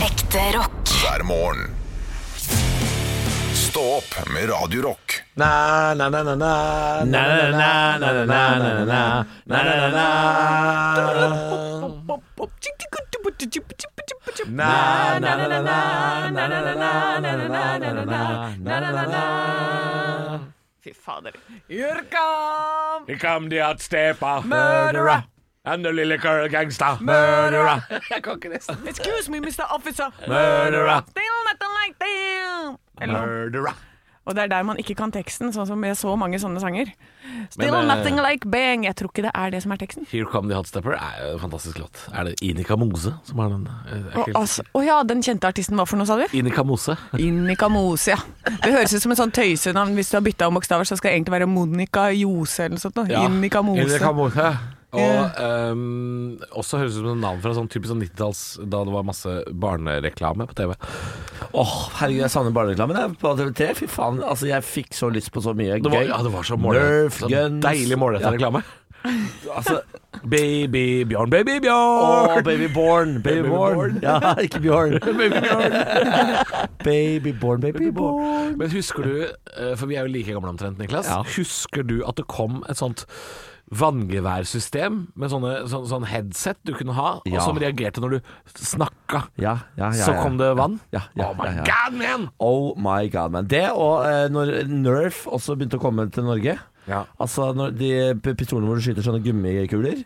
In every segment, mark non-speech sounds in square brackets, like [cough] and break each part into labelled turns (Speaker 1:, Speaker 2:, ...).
Speaker 1: Ekte rock.
Speaker 2: hver morgen. Stå opp med Radio Rock.
Speaker 3: Na, na, na, na, na, na, na, na, na, na, na, na, na, na, na, na, na. Na, na, na, na, na, na, na, na, na, na, na, na, na, na, na, na.
Speaker 4: Fy fader. Jurka!
Speaker 5: Here come the outstepper
Speaker 3: Murderer,
Speaker 5: and the little girl gangster.
Speaker 3: murderer, [laughs]
Speaker 5: Jeg kan ikke nesten.
Speaker 4: Excuse me, Mr. Officer.
Speaker 3: murderer,
Speaker 4: Still not like them. Eller,
Speaker 3: murderer.
Speaker 4: og det er der man ikke kan teksten, sånn som med så mange sånne sanger. Still
Speaker 3: Men, eh,
Speaker 4: nothing like bang. Jeg tror ikke det er det som er teksten.
Speaker 3: Here Come The Hot Stepper er jo en fantastisk låt. Er det Inika Mose som har den? Jeg er
Speaker 4: Å
Speaker 3: ikke helt
Speaker 4: altså, å ja, den kjente artisten hva for noe, sa du?
Speaker 3: sikker. Inika Mose.
Speaker 4: Innika Mose, ja. Det høres ut som et sånn tøysenavn. Hvis du har bytta om bokstaver, så skal det egentlig være Monica Jose eller noe sånt. Ja. Innika Mose.
Speaker 3: Inika Mose. Og ehm, også høres ut som et navn fra sånn typisk sånn 90-talls, da det var masse barnereklame på TV.
Speaker 6: Åh, herregud, jeg savner barnereklamen jeg, på TV3. Fy faen, altså jeg fikk så lyst på så mye
Speaker 3: Det var,
Speaker 6: gøy.
Speaker 3: ja, det var så
Speaker 6: Nerf
Speaker 3: målrettet.
Speaker 6: guns.
Speaker 3: Deilig målrettet
Speaker 6: Ja.
Speaker 3: reklame. [laughs]
Speaker 6: Altså,
Speaker 3: Baby Bjørn, baby
Speaker 6: Åh,
Speaker 3: Bjørn!
Speaker 6: baby born, baby,
Speaker 3: Baby
Speaker 6: born.
Speaker 3: born.
Speaker 6: Ja, ikke Bjørn.
Speaker 3: [laughs]
Speaker 6: baby born, baby born.
Speaker 3: Men husker du, eh, for vi er jo like gamle omtrent, Niklas.
Speaker 6: Ja.
Speaker 3: Husker du at det kom et sånt Vanngeværsystem med sånne, sånn, sånn headset du kunne ha, og
Speaker 6: Ja.
Speaker 3: som reagerte når du snakka.
Speaker 6: Ja, ja, ja, ja.
Speaker 3: Så kom det vann.
Speaker 6: Ja, ja,
Speaker 3: oh my
Speaker 6: ja, ja.
Speaker 3: god, man!
Speaker 6: Oh my god, man. Det og eh, når Nerf også begynte å komme til Norge.
Speaker 3: Ja.
Speaker 6: Altså når de p- pistolene hvor du skyter sånne gummikuler.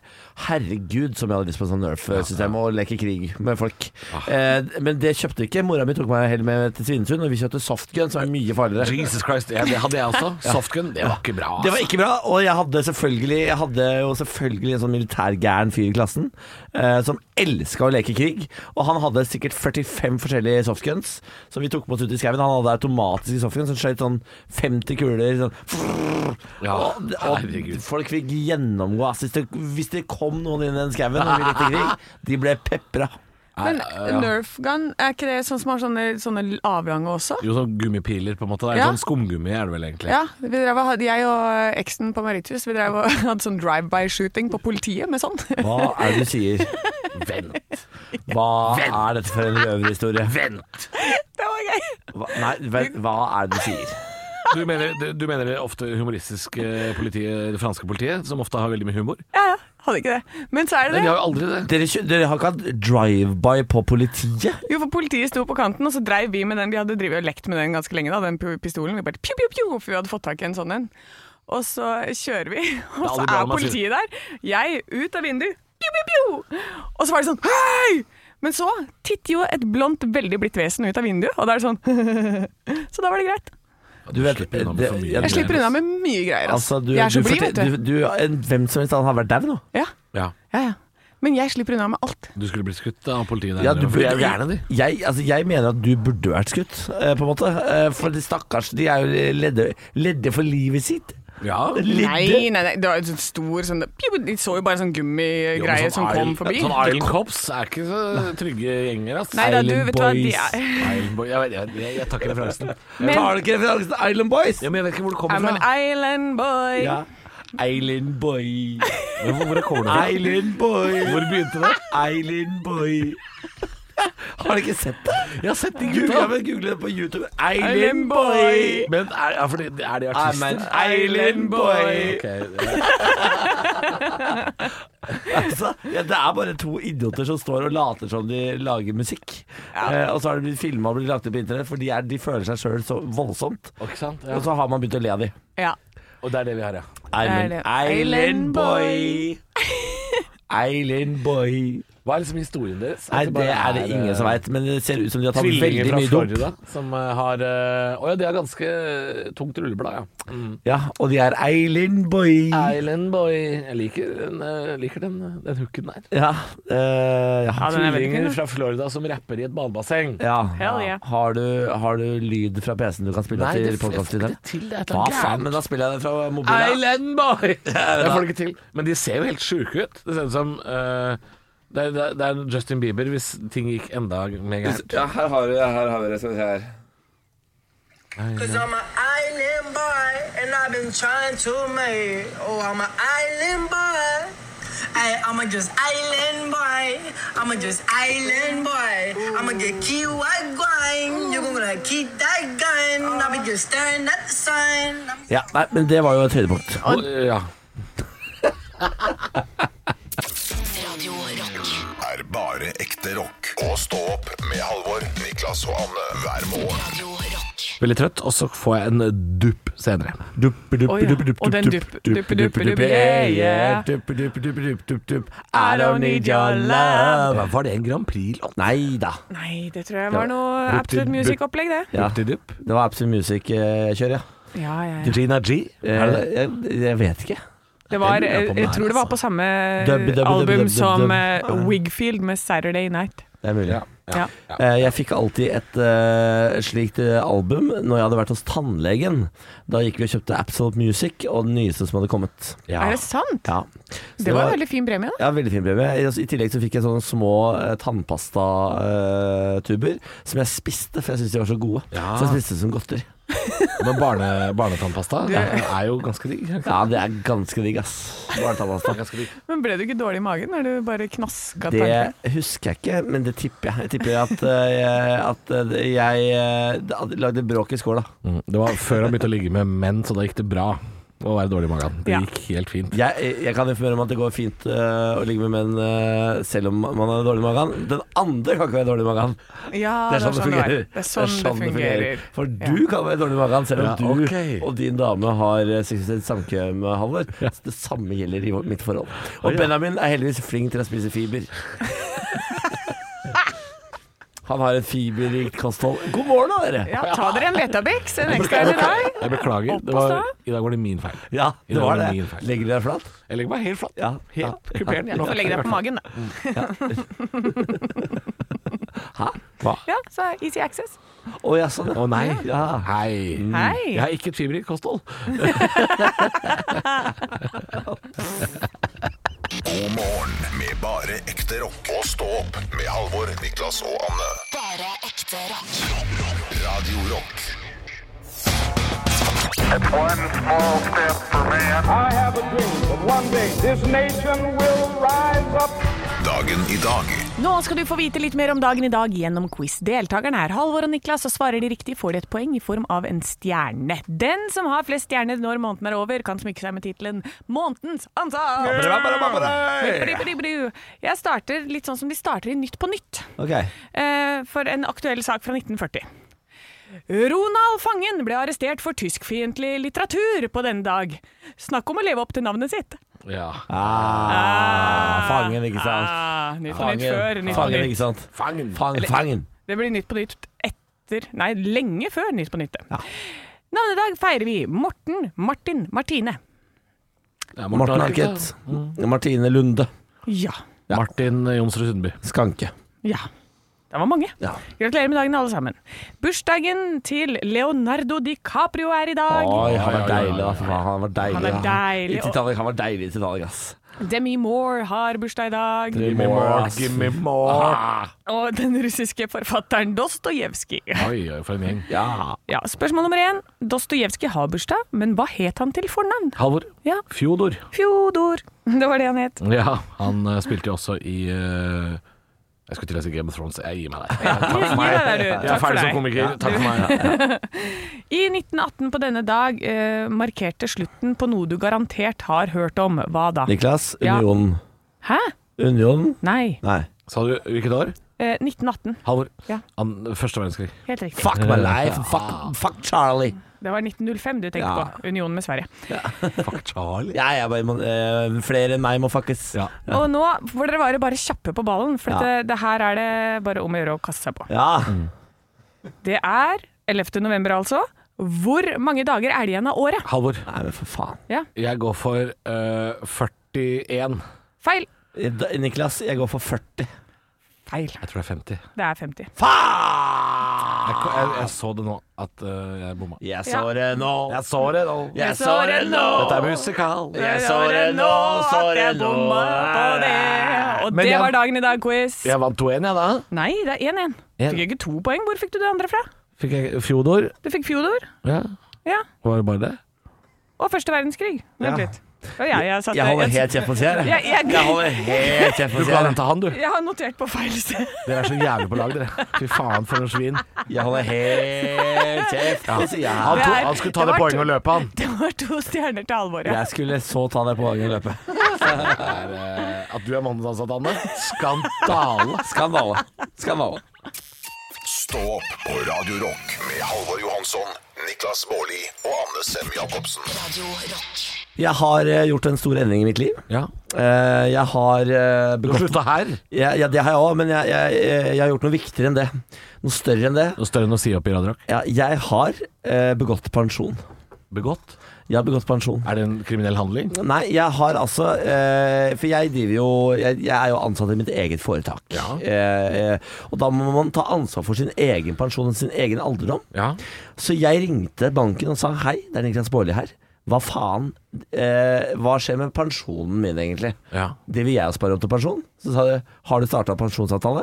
Speaker 6: Herregud, som jeg hadde lyst på sånn Nerf-system og leke krig med folk. Eh, men det kjøpte ikke. Mora mi tok meg heller med til Svinesund, og vi kjøpte softgun, som er mye farligere.
Speaker 3: Jesus Christ, ja, det hadde jeg også.
Speaker 6: [laughs]
Speaker 3: Softgun, det var ikke bra. Altså.
Speaker 6: Det var ikke bra, og jeg hadde selvfølgelig Jeg hadde jo selvfølgelig en sånn militærgæren fyr i klassen eh, som elska å leke krig. Og han hadde sikkert 45 forskjellige softguns som vi tok med oss ut i skauen. Han hadde automatiske softguns som skjøt sånn 50 kuler sånn
Speaker 3: Ja,
Speaker 6: og, og
Speaker 3: herregud.
Speaker 6: folk fikk gjennomgå ass. Hvis det, hvis det kom noen inn i den skauen og vi lekte
Speaker 3: [laughs]
Speaker 6: krig, de ble pepra.
Speaker 4: Men Nerf gun, er ikke det sånn som har sånne, sånne avlange også?
Speaker 3: Jo, sånn gummipiler, på en måte. Det er
Speaker 4: Ja.
Speaker 3: Sånn skumgummi er det vel egentlig.
Speaker 4: Ja, vi drev, og hadde- jeg og eksen på Maritus Vi drev og [laughs] hadde sånn drive-by-shooting på politiet med sånn. [laughs]
Speaker 6: Hva er det du sier? Vent. Hva er dette for en røverhistorie?
Speaker 3: Vent!
Speaker 4: Det var gøy!
Speaker 6: Hva, nei, vent, hva er det du sier?
Speaker 3: Du mener, du, du mener det ofte humoristiske politiet, eh, det franske politiet, som ofte har veldig mye humor?
Speaker 4: Ja, ja, hadde ikke det. Men så er det
Speaker 3: Men de
Speaker 4: det.
Speaker 3: har jo aldri det.
Speaker 6: Dere, kjø- dere har ikke hatt drive-by på politiet?
Speaker 4: Jo, for politiet sto på kanten, og så dreiv vi med den. Vi hadde drivet og lekt med den ganske lenge, da, den pu- pistolen. Vi bare pju, pju, pju, for vi hadde fått tak i en sånn en. Og så kjører vi, [laughs] og så
Speaker 3: aldri bra
Speaker 4: er
Speaker 3: når man sier-
Speaker 4: politiet der. Jeg ut av vinduet. Pju, pju, pju. Og så var det sånn Hei! Men så titter jo et blondt, veldig blidt vesen ut av vinduet, og da er det sånn [laughs] Så da var det greit.
Speaker 6: Du vet,
Speaker 3: slipper unna med
Speaker 6: det-
Speaker 3: for mye.
Speaker 6: jeg-
Speaker 4: Jeg slipper unna med mye greier. Altså.
Speaker 6: Altså, du,
Speaker 4: jeg er så
Speaker 6: du
Speaker 4: blid,
Speaker 6: fortel-
Speaker 4: vet du.
Speaker 6: du, du, en, Hvem som helst annen har vært dau nå.
Speaker 4: Ja,
Speaker 3: Ja.
Speaker 4: ja, ja. Men jeg slipper unna med alt.
Speaker 3: Du skulle blitt skutt av politiet der.
Speaker 6: Ja, du
Speaker 3: for de er jo
Speaker 6: burde-
Speaker 3: gærne, de.
Speaker 6: Jeg, altså, jeg mener at du burde vært skutt, eh, på en måte. Eh, For de stakkars, de er jo ledde, ledde for livet sitt.
Speaker 3: Ja.
Speaker 6: Ledde.
Speaker 4: Nei, nei, nei, det var en sånn stor sånn pju, De så jo bare en sånn gummigreie som kom forbi.
Speaker 3: Sånn Island Cops er ikke så trygge gjenger, ass.
Speaker 4: Nei da, du,
Speaker 6: Island
Speaker 4: vet du hva, de
Speaker 6: Boys.
Speaker 4: er
Speaker 3: Island Boy- Jeg, jeg, jeg, jeg tar ikke referansen.
Speaker 4: Men-
Speaker 6: Har du ikke referansen til Island Boys?
Speaker 3: Ja, men jeg vet ikke hvor det
Speaker 4: I'm
Speaker 3: kommer
Speaker 4: an
Speaker 3: fra.
Speaker 4: island boy.
Speaker 6: Ja. Island Boy.
Speaker 3: Men Hvor, hvor kommer det fra?
Speaker 6: Island Boy.
Speaker 3: Hvor begynte det?
Speaker 6: Island Boy. Har du ikke sett det?
Speaker 3: Jeg har sett de
Speaker 6: Google, ja,
Speaker 3: gutta.
Speaker 6: men Google det på YouTube.
Speaker 4: Island
Speaker 6: Island
Speaker 4: Boy.
Speaker 6: Boy.
Speaker 3: Men er, ja, for de, er de
Speaker 6: I'm
Speaker 3: artister?
Speaker 6: an island boy.
Speaker 3: Ok, [laughs]
Speaker 6: Altså, ja, det er bare to idioter som står og later som de lager musikk. Eh, og så har de blitt filma og blitt lagt ut på internett, for de, er, de føler seg sjøl så voldsomt.
Speaker 3: Ikke sant?
Speaker 6: Og så har man begynt å le av dem.
Speaker 4: Ja.
Speaker 3: Og det er det vi har, ja.
Speaker 4: er
Speaker 6: Island,
Speaker 4: det.
Speaker 6: island boy. Island boy.
Speaker 3: Hva er liksom historien deres?
Speaker 6: Nei,
Speaker 3: At
Speaker 6: det
Speaker 3: bare
Speaker 6: er det ingen som
Speaker 3: eh,
Speaker 6: veit, men det ser ut som de har tatt
Speaker 3: Tvillinger
Speaker 6: veldig
Speaker 3: fra
Speaker 6: mye dop.
Speaker 3: Florida som eh, har Å ja, de har ganske tungt rulleblad, ja.
Speaker 6: Ja, og de er island boy.
Speaker 3: Island Boy. Jeg liker den, eh, liker den, den hooken der.
Speaker 6: Ja, eh, ja.
Speaker 4: Ja, den er veldig fin,
Speaker 3: Tvillinger
Speaker 4: da.
Speaker 3: fra Florida som rapper i et badebasseng.
Speaker 6: ja.
Speaker 4: Hell yeah.
Speaker 6: Har, du, har du lyd fra PC-en du kan spille
Speaker 3: Nei, det
Speaker 6: til podkast i
Speaker 3: får
Speaker 6: den?
Speaker 3: ikke til. Det er et
Speaker 6: Hva
Speaker 3: eller
Speaker 6: faen,
Speaker 3: annet
Speaker 6: men
Speaker 3: gærent.
Speaker 6: da spiller jeg det fra mobilen.
Speaker 3: Island Boy! Det får det ikke til. Men de ser jo helt sjuke ut. Det ser ut som eh, det, er, det er- det er Justin Bieber hvis ting gikk enda mer gærent.
Speaker 7: Ja, her har vi det. Her har vi det. Skal vi se her.
Speaker 8: Cause I'm an island boy, and I've been trying to make. Oh, I'm an island boy. I, I'm a just island boy. I'm a just island boy. I'm a would you keep on going? You're gonna keep that gun. I'll be just staring at the sun.
Speaker 6: Ja, nei, men det var jo et høydepunkt.
Speaker 3: Og, ja.
Speaker 2: er bare ekte rock. Og stå opp med Halvor, Niklas og Anne hver morgen.
Speaker 3: Veldig trøtt, og så får jeg en dupp senere.
Speaker 4: Å, ja. Og den dupp- duppe, duppe, duppe, yeah, yeah.
Speaker 6: I don't need your love.
Speaker 3: Hva Var det en Grand Prix-låt?
Speaker 6: Nei da.
Speaker 4: Nei, det tror jeg var noe Absolute Music-opplegg, det.
Speaker 6: Ja.
Speaker 3: Dupp-di-dupp.
Speaker 6: Det var Absolute Music-kjør, ja.
Speaker 4: Ja, ja, ja.
Speaker 3: Gina G?
Speaker 6: Eh,
Speaker 3: Er det det?
Speaker 6: Jeg, jeg vet ikke.
Speaker 4: Det var,
Speaker 6: lurer jeg
Speaker 4: jeg,
Speaker 6: på om det
Speaker 4: jeg
Speaker 6: er,
Speaker 4: tror det var på
Speaker 6: altså.
Speaker 4: samme
Speaker 6: Dub, dub, dub, dub, dub,
Speaker 4: album som
Speaker 6: dub.
Speaker 4: eh, Wigfield med 'Saturday Night'.
Speaker 6: Det er mulig.
Speaker 4: Ja.
Speaker 6: Eh, Jeg fikk alltid et eh, slikt eh, album når jeg hadde vært hos tannlegen. Da gikk vi og kjøpte Absolute Music og den nyeste som hadde kommet.
Speaker 4: Er det sant?
Speaker 6: Ja.
Speaker 4: Det var en veldig fin premie, da.
Speaker 6: ja, veldig fin premie. I altså, i tillegg så fikk jeg sånne små eh, tannpastatuber eh, som jeg spiste, for jeg syntes de var så gode.
Speaker 3: Ja.
Speaker 6: Så jeg spiste det som godteri.
Speaker 3: Men barne, barnetannpasta er jo ganske digg. er det ikke
Speaker 6: Ja, det er ganske digg, ass. Barnetannpasta.
Speaker 3: Ganske digg.
Speaker 4: Men ble du ikke dårlig i magen når du bare knaska tanken?
Speaker 6: Det husker jeg ikke, men det tipper jeg. Jeg tipper at, eh, at eh, jeg eh, hadde- lagde bråk i skåla.
Speaker 3: Mm, Det var før han begynte å ligge med menn, så da gikk det bra å være dårlig i magen. Det
Speaker 4: Ja.
Speaker 3: gikk helt fint.
Speaker 6: Jeg, jeg kan informere om at det går fint eh, å ligge med menn eh, selv om man er dårlig i magen. Den andre kan ikke være dårlig i magen.
Speaker 4: Ja,
Speaker 6: Det er sånn det
Speaker 4: var.
Speaker 6: fungerer.
Speaker 4: Det er sånn det fungerer.
Speaker 6: For du kan være dårlig i magen selv om
Speaker 3: Ja,
Speaker 6: du
Speaker 3: ok.
Speaker 6: og din dame har eh, seksuelt samkvem, eh, Halvor. Så Det samme gjelder i vår- mitt forhold. Og
Speaker 3: ja.
Speaker 6: Benjamin er heldigvis flink til å spise fiber. Han har et fiberrikt kosthold. God morgen, da, dere!
Speaker 4: Ja, ta dere en Betabex, en ekstra en i dag.
Speaker 3: Jeg beklager. Det
Speaker 4: Opp og
Speaker 3: var,
Speaker 4: stå.
Speaker 3: I dag var det min feil.
Speaker 6: Ja,
Speaker 3: I
Speaker 6: det
Speaker 3: dag
Speaker 6: var
Speaker 3: var det min
Speaker 6: det.
Speaker 3: feil.
Speaker 6: Legger dere deg flat?
Speaker 3: Jeg legger meg helt flatt.
Speaker 6: Ja.
Speaker 3: Helt
Speaker 6: Ja.
Speaker 3: kupert.
Speaker 4: Ja, så legg deg på magen, da. [laughs]
Speaker 6: Hæ?
Speaker 4: Ja, så easy access.
Speaker 6: Å ja, sånn.
Speaker 3: Å nei.
Speaker 6: Ja.
Speaker 3: Hei.
Speaker 6: Mm.
Speaker 4: Hei.
Speaker 3: Jeg har ikke et fiberrikt kosthold.
Speaker 2: God morgen med bare ekte rock. Og stå opp med Halvor, Niklas og Anne.
Speaker 1: Bare ekte rock.
Speaker 2: Rock, rock. Radio Rock.
Speaker 9: One small step for man. I have a dream that one day this nation will rise up.
Speaker 2: Dagen i dag
Speaker 4: Nå skal du få vite litt mer om dagen i dag gjennom quiz. Deltakerne er Halvor og Niklas, og svarer de riktig får de et poeng i form av en stjerne. Den som har flest stjerner når måneden er over, kan smykke seg med tittelen 'Månedens antall'. Jeg starter litt sånn som de starter i Nytt på nytt,
Speaker 6: Ok.
Speaker 4: eh, for en aktuell sak fra 1940. Ronald Fangen ble arrestert for tyskfiendtlig litteratur på denne dag. Snakk om å leve opp til navnet sitt.
Speaker 3: Ja.
Speaker 6: Ah, fangen, ikke sant?
Speaker 4: Ah, nytt på nytt før. Nytt på
Speaker 6: fangen,
Speaker 4: nytt.
Speaker 6: ikke sant?
Speaker 3: Fangen.
Speaker 6: Fang, fangen.
Speaker 4: Det blir Nytt på Nytt etter Nei, lenge før Nytt på Nytt. Navnedag feirer vi Morten, Martin, Martine.
Speaker 3: Ja,
Speaker 6: Morten Harket. Martine Lunde.
Speaker 4: Ja.
Speaker 6: Ja.
Speaker 3: Martin Jonsrud Sundby.
Speaker 6: Skanke.
Speaker 4: Ja. Det var mange.
Speaker 6: Ja.
Speaker 4: Gratulerer med dagen, alle sammen. Bursdagen til Leonardo DiCaprio er i dag.
Speaker 6: Oi, han
Speaker 3: Oi, oi,
Speaker 6: var deilig,
Speaker 3: oi,
Speaker 6: da.
Speaker 3: oi.
Speaker 6: for faen, Han var deilig.
Speaker 4: Han er
Speaker 6: da.
Speaker 4: deilig,
Speaker 6: I
Speaker 4: og-
Speaker 6: Titanic, han var deilig i Titanic, ass.
Speaker 4: Demi Moore har bursdag i dag.
Speaker 6: Give me more, ass.
Speaker 4: Og den russiske forfatteren Dostojevskij.
Speaker 3: Oi, oi, for en gjeng.
Speaker 6: Ja.
Speaker 4: Ja, spørsmål nummer én. Dostojevskij har bursdag, men hva het han til fornavn?
Speaker 3: Halvor.
Speaker 4: Ja,
Speaker 3: Fjodor.
Speaker 4: Fjodor. [laughs] Det var det han het.
Speaker 3: Ja, han eh, spilte jo også i eh, Jeg skulle til å si Game of Thrones. Jeg gir meg der.
Speaker 4: Gi deg der, du.
Speaker 3: Jeg er
Speaker 4: Takk for
Speaker 3: ferdig
Speaker 4: deg.
Speaker 3: som komiker. Takk for meg.
Speaker 4: I 1918 på denne dag eh, markerte slutten på noe du garantert har hørt om. Hva da?
Speaker 6: Niklas,
Speaker 4: Ja.
Speaker 6: Union.
Speaker 4: Hæ?
Speaker 6: Union?
Speaker 4: Nei.
Speaker 6: Nei.
Speaker 3: Sa du hvilket år?
Speaker 4: Eh, 1918.
Speaker 3: Halvor.
Speaker 4: Ja.
Speaker 3: An- Første verdenskrig.
Speaker 4: Helt riktig.
Speaker 6: Fuck [laughs] my life. Fuck, fuck Charlie.
Speaker 4: Det var 1905 du tenkte
Speaker 6: Ja.
Speaker 4: på. Unionen med Sverige.
Speaker 3: Charlie.
Speaker 6: Ja, jeg bare, må- eh, flere enn meg må fuckes.
Speaker 3: Ja.
Speaker 4: Og nå får dere være bare kjappe på ballen, for
Speaker 6: Ja.
Speaker 4: dette- det her er det bare om å gjøre å kaste seg på.
Speaker 6: Ja.
Speaker 4: Det er 11. november, altså. Hvor mange dager er det igjen av året?
Speaker 3: Halvor.
Speaker 6: Nei, men for faen.
Speaker 4: Ja,
Speaker 3: Jeg går for eh, 41.
Speaker 4: feil.
Speaker 6: Da- Niklas, jeg går for 40.
Speaker 4: Feil.
Speaker 3: Jeg tror det er 50.
Speaker 4: Det er 50.
Speaker 6: Faen!
Speaker 3: Jeg, jeg, jeg så det nå, at eh, jeg bomma.
Speaker 6: Jeg
Speaker 4: så
Speaker 6: det nå.
Speaker 3: Jeg så det nå.
Speaker 6: Jeg så det nå.
Speaker 3: Dette er musikal.
Speaker 6: Jeg så det nå, så det nå.
Speaker 4: på det. Og
Speaker 3: Men
Speaker 4: det
Speaker 3: jeg-
Speaker 4: var dagen i dag, quiz.
Speaker 3: Jeg vant 2-1, jeg da.
Speaker 4: Nei, det er 1-1. Fikk jeg ikke to poeng? Hvor fikk du det andre fra?
Speaker 3: Fikk jeg Fjodor.
Speaker 4: Du fikk Fjodor
Speaker 3: Ja.
Speaker 4: ja.
Speaker 3: Var det bare det?
Speaker 4: og første verdenskrig. Vent litt. Og jeg, jeg, satte,
Speaker 6: Jeg holder helt kjeft på seg her.
Speaker 4: jeg, jeg,
Speaker 6: Jeg holder helt kjeft
Speaker 3: Du
Speaker 6: på
Speaker 3: ga den
Speaker 6: seg
Speaker 3: til han, du.
Speaker 4: jeg har notert på feil sted.
Speaker 3: Dere er så jævlig på lag, dere. Fy faen, for noen svin.
Speaker 6: Jeg holder helt kjeft på
Speaker 3: Han,
Speaker 6: seg her.
Speaker 3: to,
Speaker 4: Det er-
Speaker 3: han skulle ta
Speaker 4: det
Speaker 3: det
Speaker 4: var
Speaker 3: poenget og
Speaker 4: to-
Speaker 3: løpe, han.
Speaker 4: [laughs] Det var to stjerner til Halvor, ja.
Speaker 6: Jeg skulle så ta det på dagen i løpet.
Speaker 3: eh, At du er mandelsansatt, Anne. Skandale.
Speaker 6: Skandale. Skandale.
Speaker 2: Stå opp på Radio Rock med Halvor Johansson, Niklas Baarli og Anne Sem Jacobsen.
Speaker 6: Jeg har eh, gjort en stor endring i mitt liv.
Speaker 3: Ja.
Speaker 6: Eh, jeg har eh,
Speaker 3: Du har
Speaker 6: begått
Speaker 3: slutta her.
Speaker 6: ja, ja, det har jeg òg, men jeg, jeg, eh, jeg har gjort noe viktigere enn det. Noe større enn det.
Speaker 3: Noe større enn å si opp i Radio Rock.
Speaker 6: Ja, jeg har eh, begått pensjon.
Speaker 3: Begått.
Speaker 6: Jeg har begått pensjon.
Speaker 3: Er det en kriminell handling?
Speaker 6: Nei, jeg har altså eh, For jeg driver jo jeg, jeg er jo ansatt i mitt eget foretak.
Speaker 3: Ja.
Speaker 6: Eh, eh, og da må man ta ansvar for sin egen pensjon og sin egen alderdom.
Speaker 3: Ja.
Speaker 6: Så jeg ringte banken og sa hei, det er Niklas Baarli her. Hva faen? Eh, hva skjer med pensjonen min, egentlig?
Speaker 3: Ja.
Speaker 6: Det vil jeg jo spare opp til pensjon. Så sa de har du starta pensjonsavtale?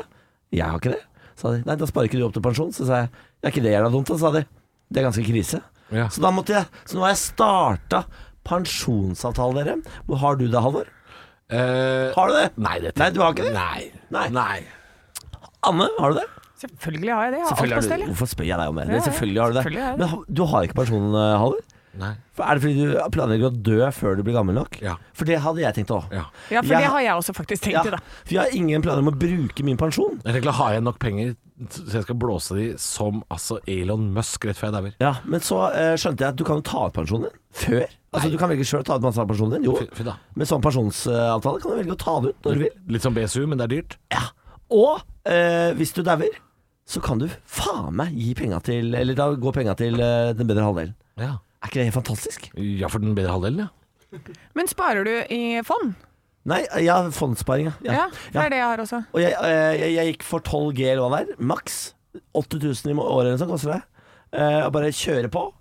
Speaker 6: Jeg har ikke det. Så sa de nei, da sparer ikke du opp til pensjon. Så sa jeg det er ikke det jævla dumt, da, sa de. Det er ganske krise.
Speaker 3: Ja.
Speaker 6: Så da måtte jeg Så nå har jeg starta pensjonsavtale, dere. Hvor har du det, Halvor?
Speaker 3: Eh,
Speaker 6: Har du det?
Speaker 3: nei, dette
Speaker 6: Nei, du har ikke det?
Speaker 3: Nei.
Speaker 6: Nei.
Speaker 3: Nei.
Speaker 6: Anne, har du det?
Speaker 4: Selvfølgelig har jeg det. Jeg har alt på
Speaker 6: Selvfølgelig
Speaker 4: stell.
Speaker 6: har du
Speaker 4: jeg.
Speaker 6: Hvorfor spør jeg deg om det?
Speaker 4: Ja,
Speaker 6: Men
Speaker 4: ja.
Speaker 6: selvfølgelig har du det.
Speaker 4: Selvfølgelig har jeg det.
Speaker 6: Men ha- du har ikke pensjon, eh, Halvor?
Speaker 3: Nei.
Speaker 6: For er det fordi du planlegger å dø før du blir gammel nok?
Speaker 3: Ja.
Speaker 6: For det hadde jeg tenkt òg.
Speaker 3: Ja.
Speaker 4: Ja, for det har jeg også faktisk tenkt i, da.
Speaker 6: For jeg har ingen planer om å bruke min pensjon.
Speaker 3: Jeg tenker å ha igjen nok penger, så jeg skal blåse de som altså Elon Musk rett før jeg dauer.
Speaker 6: Ja, Men så eh, skjønte jeg at du kan jo ta ut pensjonen din før. Altså Du kan velge sjøl å ta ut masse av pensjonen din. Jo.
Speaker 3: Fy- fy da. Mm.
Speaker 6: Med sånn pensjonsavtale kan du velge å ta det ut når du vil.
Speaker 3: Litt som BSU, men det er dyrt.
Speaker 6: Ja. Og eh, hvis du dauer, så kan du faen meg gi penga til Eller da går penga til eh, den bedre halvdelen.
Speaker 3: Ja.
Speaker 6: Er ikke det helt fantastisk?
Speaker 3: ja, for den bedre halvdelen, ja.
Speaker 4: Men sparer du i fond?
Speaker 6: Nei, jeg har fondssparing, ja.
Speaker 4: Ja, det er det jeg har også.
Speaker 6: Og jeg, eh, jeg, jeg gikk for 12 G lån der, maks 8000 i må- året eller noe sånt koster det. Eh, og bare kjøre på.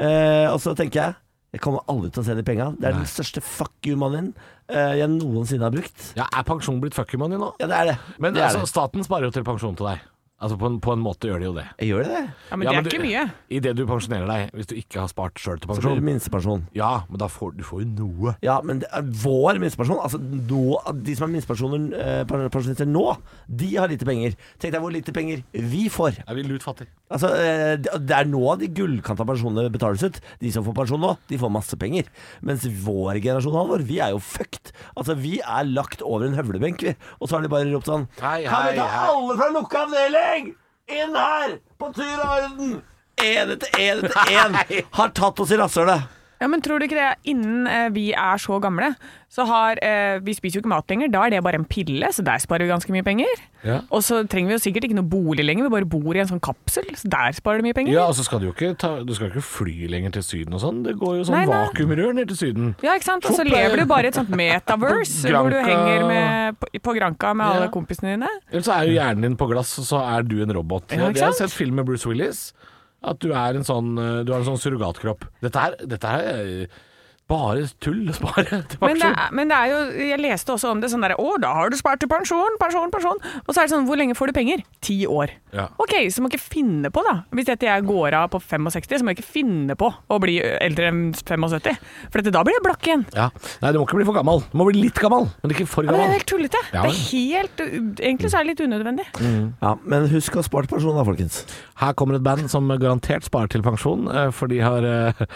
Speaker 6: Eh, og så tenker jeg jeg kommer aldri til å se de penga. Det er den største fuck you-mannen eh, jeg noensinne har brukt.
Speaker 3: ja. Er pensjon blitt fuck you money nå?
Speaker 6: Ja, det er det.
Speaker 3: Men
Speaker 6: det er
Speaker 3: altså,
Speaker 6: det.
Speaker 3: staten sparer jo til pensjon til deg. Altså På en, på en måte gjør de jo det.
Speaker 6: Jeg gjør det, det.
Speaker 4: Ja, Men det er ikke mye.
Speaker 3: Idet du pensjonerer deg, hvis du ikke har spart sjøl til
Speaker 6: Så blir
Speaker 3: pensjon.
Speaker 6: det minstepensjon.
Speaker 3: Ja, men da får du får jo noe.
Speaker 6: Ja, men det er vår minstepensjon Altså, nå, de som er minstepensjoner, eh, pensjonister nå, de har lite penger. Tenk deg hvor lite penger vi får.
Speaker 3: Jeg blir lut fattig.
Speaker 6: Altså, eh, det det er nå de gullkanta pensjonene betales ut. De som får pensjon nå, de får masse penger. Mens vår generasjon, Halvor, vi er jo fucked. Altså, vi er lagt over en høvlebenk, vi. Og så har de bare ropt sånn
Speaker 3: Hei,
Speaker 6: Kan
Speaker 3: hei,
Speaker 6: vi ta
Speaker 3: hei."
Speaker 6: alle fra lukka avdeling inn her, på tur av orden? En etter en etter en har tatt oss i rasshølet.
Speaker 4: Ja, men tror du ikke det, innen eh, vi er så gamle, så har eh, Vi spiser jo ikke mat lenger, da er det bare en pille, så der sparer vi ganske mye penger.
Speaker 3: Ja.
Speaker 4: Og så trenger vi jo sikkert ikke noe bolig lenger, vi bare bor i en sånn kapsel, så der sparer du mye penger.
Speaker 3: Ja, og så skal du jo ikke, ta, du skal jo ikke fly lenger til Syden og sånn. Det går jo sånn
Speaker 4: Nei, nei.
Speaker 3: vakuumrør ned til Syden.
Speaker 4: Ja, ikke sant? Og så
Speaker 3: Fort,
Speaker 4: lever
Speaker 3: eh,
Speaker 4: du bare i et sånt metaverse,
Speaker 3: Granka.
Speaker 4: hvor du henger med, på, på Granka med alle
Speaker 3: Ja.
Speaker 4: kompisene dine.
Speaker 3: Eller så er jo hjernen din på glass, og så er du en robot.
Speaker 4: Ja, ikke
Speaker 3: jeg, jeg har
Speaker 4: sant?
Speaker 3: sett film med Bruce Willis. At du er en sånn eh, Du har en sånn surrogatkropp. Dette er, dette er eh, bare tull [laughs] å spare til
Speaker 4: Men det,
Speaker 3: pensjon.
Speaker 4: er, men det er jo, jeg leste også om det sånn der, å da har du spart til pensjon, pensjon, pensjon. Og så er det sånn, hvor lenge får du penger? Ti år.
Speaker 3: Ja.
Speaker 4: Ok, så må jeg ikke finne på da. Hvis dette jeg går av på 65, så må jeg ikke finne på å bli eldre enn 75. For dette, da blir jeg blakk igjen.
Speaker 3: Ja. Nei, du må ikke bli for gammel. Du må bli litt gammel, men ikke for
Speaker 4: Ja, men det er
Speaker 3: gammel.
Speaker 4: helt tullete.
Speaker 3: Ja, Mm.
Speaker 4: det er helt, egentlig så er det litt unødvendig.
Speaker 6: Ja, men husk å spare til pensjon, da, folkens.
Speaker 3: Her kommer et band som garantert sparer til pensjon, eh, for de har eh,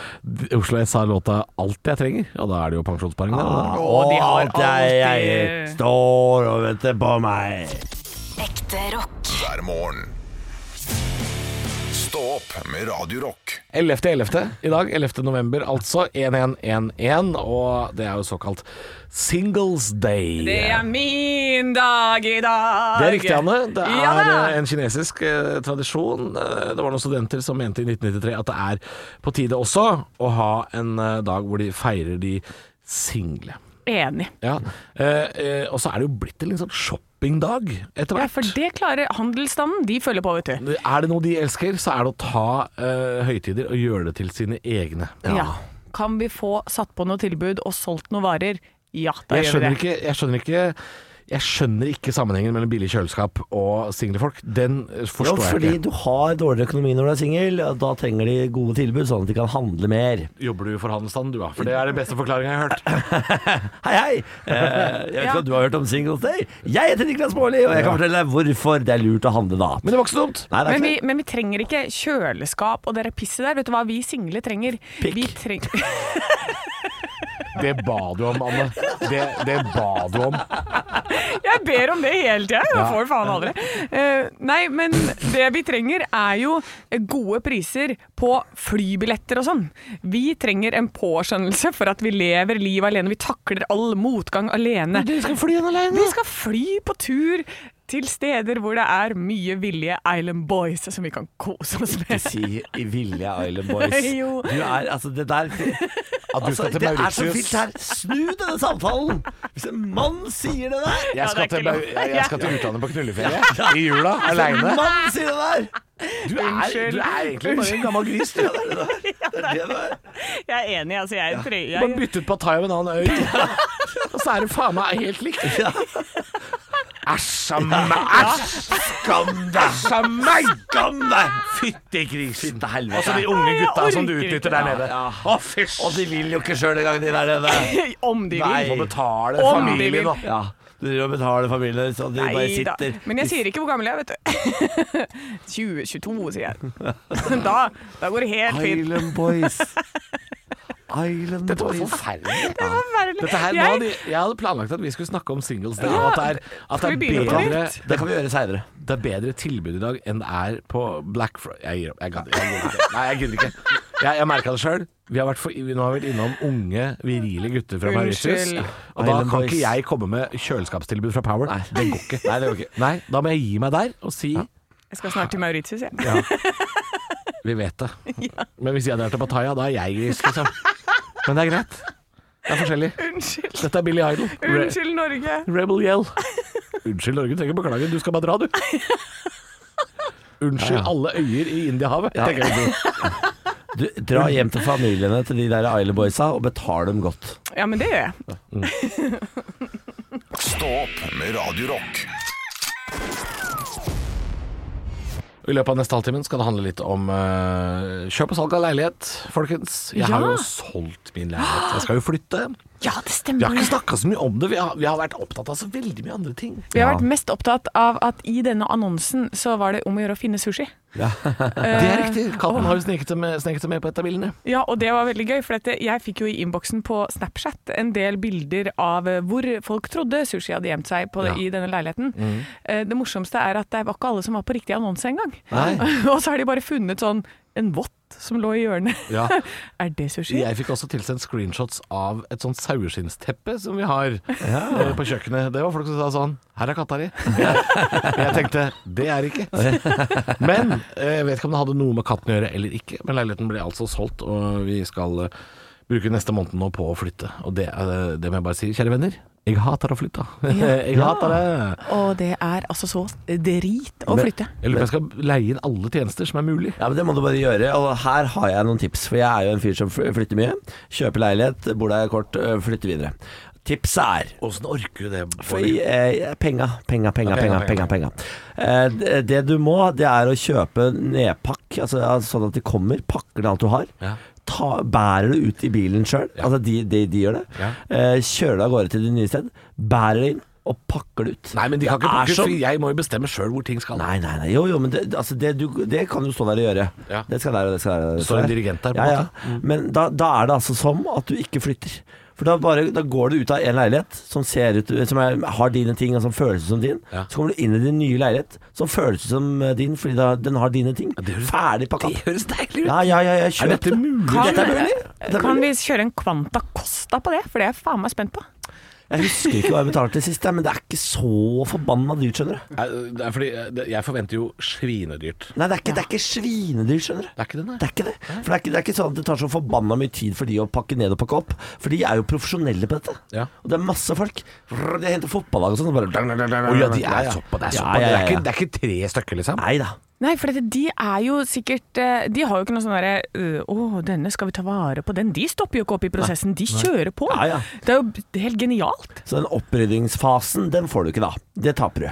Speaker 3: [laughs] Oslo S har låta 'Alt jeg trenger', og da er det jo pensjonssparing der.
Speaker 4: Ah.
Speaker 3: da.
Speaker 6: Og
Speaker 4: de har
Speaker 6: alt jeg eier,
Speaker 4: alltid-
Speaker 6: står og venter på meg.
Speaker 1: Ekte rock.
Speaker 2: hver morgen. Stå opp med Radio Rock.
Speaker 3: 11.11. i dag, 11. november, altså 1111, og det er jo såkalt Singles Day.
Speaker 4: Det er min dag i dag.
Speaker 3: Det er riktig, Anne. Det er
Speaker 4: Ja da.
Speaker 3: eh, en kinesisk eh, tradisjon. Eh, Det var noen studenter som mente i 1993 at det er på tide også å ha en eh, dag hvor de feirer de single.
Speaker 4: Enig.
Speaker 3: Ja. Eh, eh, og så er det jo blitt en litt sånn shoppingdag etter
Speaker 4: Ja,
Speaker 3: hvert.
Speaker 4: for det klarer handelsstanden, de følger på, vet du.
Speaker 3: Er det noe de elsker, så er det å ta eh, høytider og gjøre det til sine egne.
Speaker 4: Ja. Kan vi få satt på noe tilbud og solgt noen varer? Ja, da
Speaker 3: Jeg
Speaker 4: gjør vi
Speaker 3: skjønner
Speaker 4: det.
Speaker 3: ikke, jeg skjønner ikke Jeg skjønner ikke sammenhengen mellom billig kjøleskap og single folk. Den eh,
Speaker 6: Jo,
Speaker 3: forstår
Speaker 6: fordi
Speaker 3: jeg ikke.
Speaker 6: du har dårligere økonomi når du er singel. og Da trenger de gode tilbud, sånn at de kan handle mer.
Speaker 3: Jobber du for handelsstanden du, da? For det er den beste forklaringa jeg har hørt.
Speaker 6: Hei, hei! Eh, jeg [laughs] vet ikke om du har hørt om Singles Day? Jeg heter Niklas Baarli, og jeg kan fortelle deg hvorfor det er lurt å handle da.
Speaker 3: Men det var ikke så dumt.
Speaker 6: Nei, det er
Speaker 4: Men
Speaker 6: ikke
Speaker 4: vi, men vi trenger ikke kjøleskap og det der pisset der. Vet du hva vi single trenger?
Speaker 6: Pikk.
Speaker 4: Vi treng
Speaker 3: Det ba du om, Anne. Det, det ba du om.
Speaker 4: Jeg ber om det hele tida, jeg
Speaker 3: Ja.
Speaker 4: får faen aldri. Eh, nei, men det vi trenger er jo gode priser på flybilletter og sånn. Vi trenger en påskjønnelse for at vi lever livet alene. Vi takler all motgang alene.
Speaker 3: Dere skal fly den alene.
Speaker 4: Vi skal fly på tur til steder hvor det er mye villige Island Boys som vi kan kose oss
Speaker 6: det.
Speaker 3: [laughs]
Speaker 4: med.
Speaker 6: Si i Vilje Island Boys.
Speaker 4: [laughs] Jo.
Speaker 6: Du er altså det
Speaker 4: [laughs]
Speaker 6: der
Speaker 3: du skal
Speaker 6: altså,
Speaker 3: til
Speaker 6: Det er så
Speaker 3: Mauritius.
Speaker 6: vilt her. Snu denne samtalen! Hvis en mann sier det der
Speaker 3: Jeg skal,
Speaker 4: det er
Speaker 3: til,
Speaker 4: ikke
Speaker 3: Mau-
Speaker 4: lov.
Speaker 3: jeg jeg skal til utlandet på knulleferie i jula,
Speaker 6: En
Speaker 3: aleine.
Speaker 6: mann sier det der!
Speaker 3: Du, er- du er egentlig bare en gammel gris,
Speaker 4: [laughs]
Speaker 3: du.
Speaker 4: Jeg er enig, altså. Jeg, tre-
Speaker 3: Du har
Speaker 4: jeg,
Speaker 3: byttet på thai med en annen øy, og så er det faen meg helt likt. Æsj a meg! Æsj! Skam deg! Æsj a meg! Skam deg! Fyttegrisen.
Speaker 6: Til helvete.
Speaker 3: Og så de unge
Speaker 4: jeg
Speaker 3: gutta som du
Speaker 4: orker
Speaker 3: utnytter
Speaker 4: ikke.
Speaker 3: der nede. Å, fysj!
Speaker 6: og Altså, de vil jo ikke sjøl engang, de der nede.
Speaker 4: [laughs] om de
Speaker 3: Nei.
Speaker 4: vil.
Speaker 3: Må betale
Speaker 4: Om de vil.
Speaker 3: familien, da.
Speaker 6: Ja, de driver og betaler familien, så de bare
Speaker 4: Nei da.
Speaker 6: sitter
Speaker 4: Men jeg sier ikke hvor gammel jeg [laughs] er, vet du. 2022, sier jeg. [laughs] Da, da går det helt fint.
Speaker 6: Island Boys. Island
Speaker 3: Dette var
Speaker 6: Boys.
Speaker 3: forferdelig.
Speaker 4: Forferdelig.
Speaker 3: Dette her, nå
Speaker 4: jeg,
Speaker 3: hadde, jeg hadde planlagt at vi skulle snakke om singles day,
Speaker 4: Ja,
Speaker 3: og at det er, at det
Speaker 4: skal
Speaker 3: er
Speaker 4: vi begynne på
Speaker 3: bedre
Speaker 4: nytt?
Speaker 6: Det kan vi gjøre seinere.
Speaker 3: Det er bedre tilbud i dag enn det er på Black Friday Jeg gir opp. Jeg gidder jeg gidder ikke. Nei, jeg gidder ikke. Jeg, jeg merka det sjøl. Vi har vært for, nå har vi vært innom unge, virile gutter fra Mauritius.
Speaker 4: Unnskyld.
Speaker 3: Og da
Speaker 6: Island
Speaker 3: kan
Speaker 6: Boys.
Speaker 3: ikke jeg komme med kjøleskapstilbud fra Power. Nei, det går ikke.
Speaker 6: Nei, det går ikke.
Speaker 3: Nei, da må jeg gi meg der og si
Speaker 4: jeg skal snart til Mauritius, jeg.
Speaker 3: vi vet
Speaker 6: [laughs]
Speaker 3: det. Men hvis jeg hadde vært på Pattaya, da er jeg gris, liksom. Men det er greit. Det er forskjellig.
Speaker 4: [laughs] Unnskyld.
Speaker 3: Dette er Billy Idol. Re
Speaker 4: Unnskyld, Norge.
Speaker 3: Rebel Yell. Unnskyld, Norge, du trenger ikke beklage. Du skal bare dra, du. Unnskyld alle øyer i Indiahavet, tenker jeg.
Speaker 6: Du, dra hjem til familiene til de der Isle Boysa og betal dem godt.
Speaker 4: Ja, men det gjør jeg.
Speaker 2: Stå opp med Radio Rock.
Speaker 3: I løpet av neste halvtimen skal det handle litt om eh, kjøp og salg av leilighet, folkens. Jeg har
Speaker 4: Ja.
Speaker 3: jo solgt min leilighet. Jeg skal jo flytte.
Speaker 4: Ja, det
Speaker 3: Vi har
Speaker 4: stemmer.
Speaker 3: ikke snakka så mye om det. Vi har, vi har vært opptatt av så veldig mye andre ting.
Speaker 4: Vi har vært mest opptatt av at i denne annonsen så var det om å gjøre å finne sushi.
Speaker 3: Det er riktig. Katten har jo sneket seg med, sneket seg med på et av bildene.
Speaker 4: Ja, og det var veldig gøy, for dette, jeg fikk jo i innboksen på Snapchat en del bilder av eh, hvor folk trodde sushi hadde gjemt seg på, i denne leiligheten.
Speaker 6: Mm.
Speaker 4: Eh, Det morsomste er at det var ikke alle som var på riktig annonse engang. [laughs] og så har de bare funnet sånn en vått som lå i hjørnet.
Speaker 3: Ja.
Speaker 4: [laughs] er det sushi?
Speaker 3: Jeg fikk også tilsendt screenshots av et sånt saueskinnsteppe som vi har eh, på kjøkkenet. Det var folk som sa sånn Her er
Speaker 6: [laughs]
Speaker 3: katta di. Jeg, jeg tenkte Det er ikke. Men eh, jeg vet ikke om det hadde noe med katten å gjøre eller ikke. Men leiligheten ble altså solgt, og vi skal eh, bruke neste måned nå på å flytte. Og det, eh, det må jeg bare si, kjære venner. Jeg hater å flytte. [laughs] Jeg hater det.
Speaker 4: Og det er altså så drit å flytte.
Speaker 3: Jeg lurer på om jeg skal leie inn alle tjenester som er mulig.
Speaker 6: Ja, men Det må du bare gjøre. Og her har jeg noen tips. For jeg er jo en fyr som fly- flytter mye. Kjøper leilighet, bor der kort, øh, flytter videre. Tipset er
Speaker 3: Åssen orker du det?
Speaker 6: for, eh, penga, penga, penga, penga, penga, penga. Eh, d- det du må, det er å kjøpe nedpakk, altså, ja, sånn at de kommer, pakker ned alt du har.
Speaker 3: Ja.
Speaker 6: Ta, bærer det ut i bilen sjøl, altså de, de, de gjør det.
Speaker 3: Ja.
Speaker 6: Eh, kjører det av gårde til det nye sted, bærer det inn og pakker det ut.
Speaker 3: Nei, men de kan
Speaker 6: Det
Speaker 3: ikke
Speaker 6: er
Speaker 3: pakke ut,
Speaker 6: som-
Speaker 3: for jeg må jo bestemme sjøl hvor ting skal.
Speaker 6: Nei, nei, nei. Jo, jo, men det, altså det, du, det kan du stå der og gjøre.
Speaker 3: Ja.
Speaker 6: Det skal der og det skal der. og
Speaker 3: Står
Speaker 6: det skal
Speaker 3: en
Speaker 6: der.
Speaker 3: dirigent der, på
Speaker 6: ja,
Speaker 3: en Mm.
Speaker 6: ja. Men da, da er det altså som at du ikke flytter. For da, bare, da går du ut av en leilighet som, ser ut, som er, har dine ting, og som føles ut som din.
Speaker 3: Ja.
Speaker 6: Så kommer du inn i din nye leilighet som føles ut som eh, din, fordi da, den har dine ting. Ferdig pakka.
Speaker 3: Det høres deilig ut.
Speaker 6: Ja, ja, ja, ja, kjøp
Speaker 3: Er dette
Speaker 6: det.
Speaker 3: mulig?
Speaker 4: Kan,
Speaker 6: Dette er mulig. Dette er
Speaker 4: kan
Speaker 6: mulig.
Speaker 4: vi kjøre en Quanta Costa på det? For det er jeg faen meg spent på.
Speaker 6: Jeg husker ikke hva jeg betalte sist, jeg, men det er ikke så forbanna dyrt, skjønner du.
Speaker 3: Nei, Det er fordi eh, det- jeg forventer jo svinedyrt.
Speaker 6: Nei, det er ikke, det er ikke svinedyrt, skjønner du.
Speaker 3: Det er ikke det, nei.
Speaker 6: Det er ikke det. For det er ikke, det er ikke sånn at det tar så forbanna mye tid for de å pakke ned og pakke opp. For de er jo profesjonelle på dette.
Speaker 3: Ja.
Speaker 6: Og det er masse folk. Brr, De henter fotballag og sånn. og bare-
Speaker 3: Å ja, de er
Speaker 6: ja.
Speaker 3: såpass. Det er såpass.
Speaker 6: Ja, ja, ja,
Speaker 3: Det, er
Speaker 6: ja.
Speaker 3: ikke, det er ikke tre stykker, liksom.
Speaker 6: Nei da.
Speaker 4: Nei, for dette, de er jo sikkert eh, De har jo ikke noe sånn derre øh, 'Å, denne skal vi ta vare på', den. De stopper jo ikke opp i prosessen, de kjører på.
Speaker 6: Ja, ja.
Speaker 4: Det er jo b- helt genialt.
Speaker 6: Så den oppryddingsfasen, den får du ikke da. Det taper du.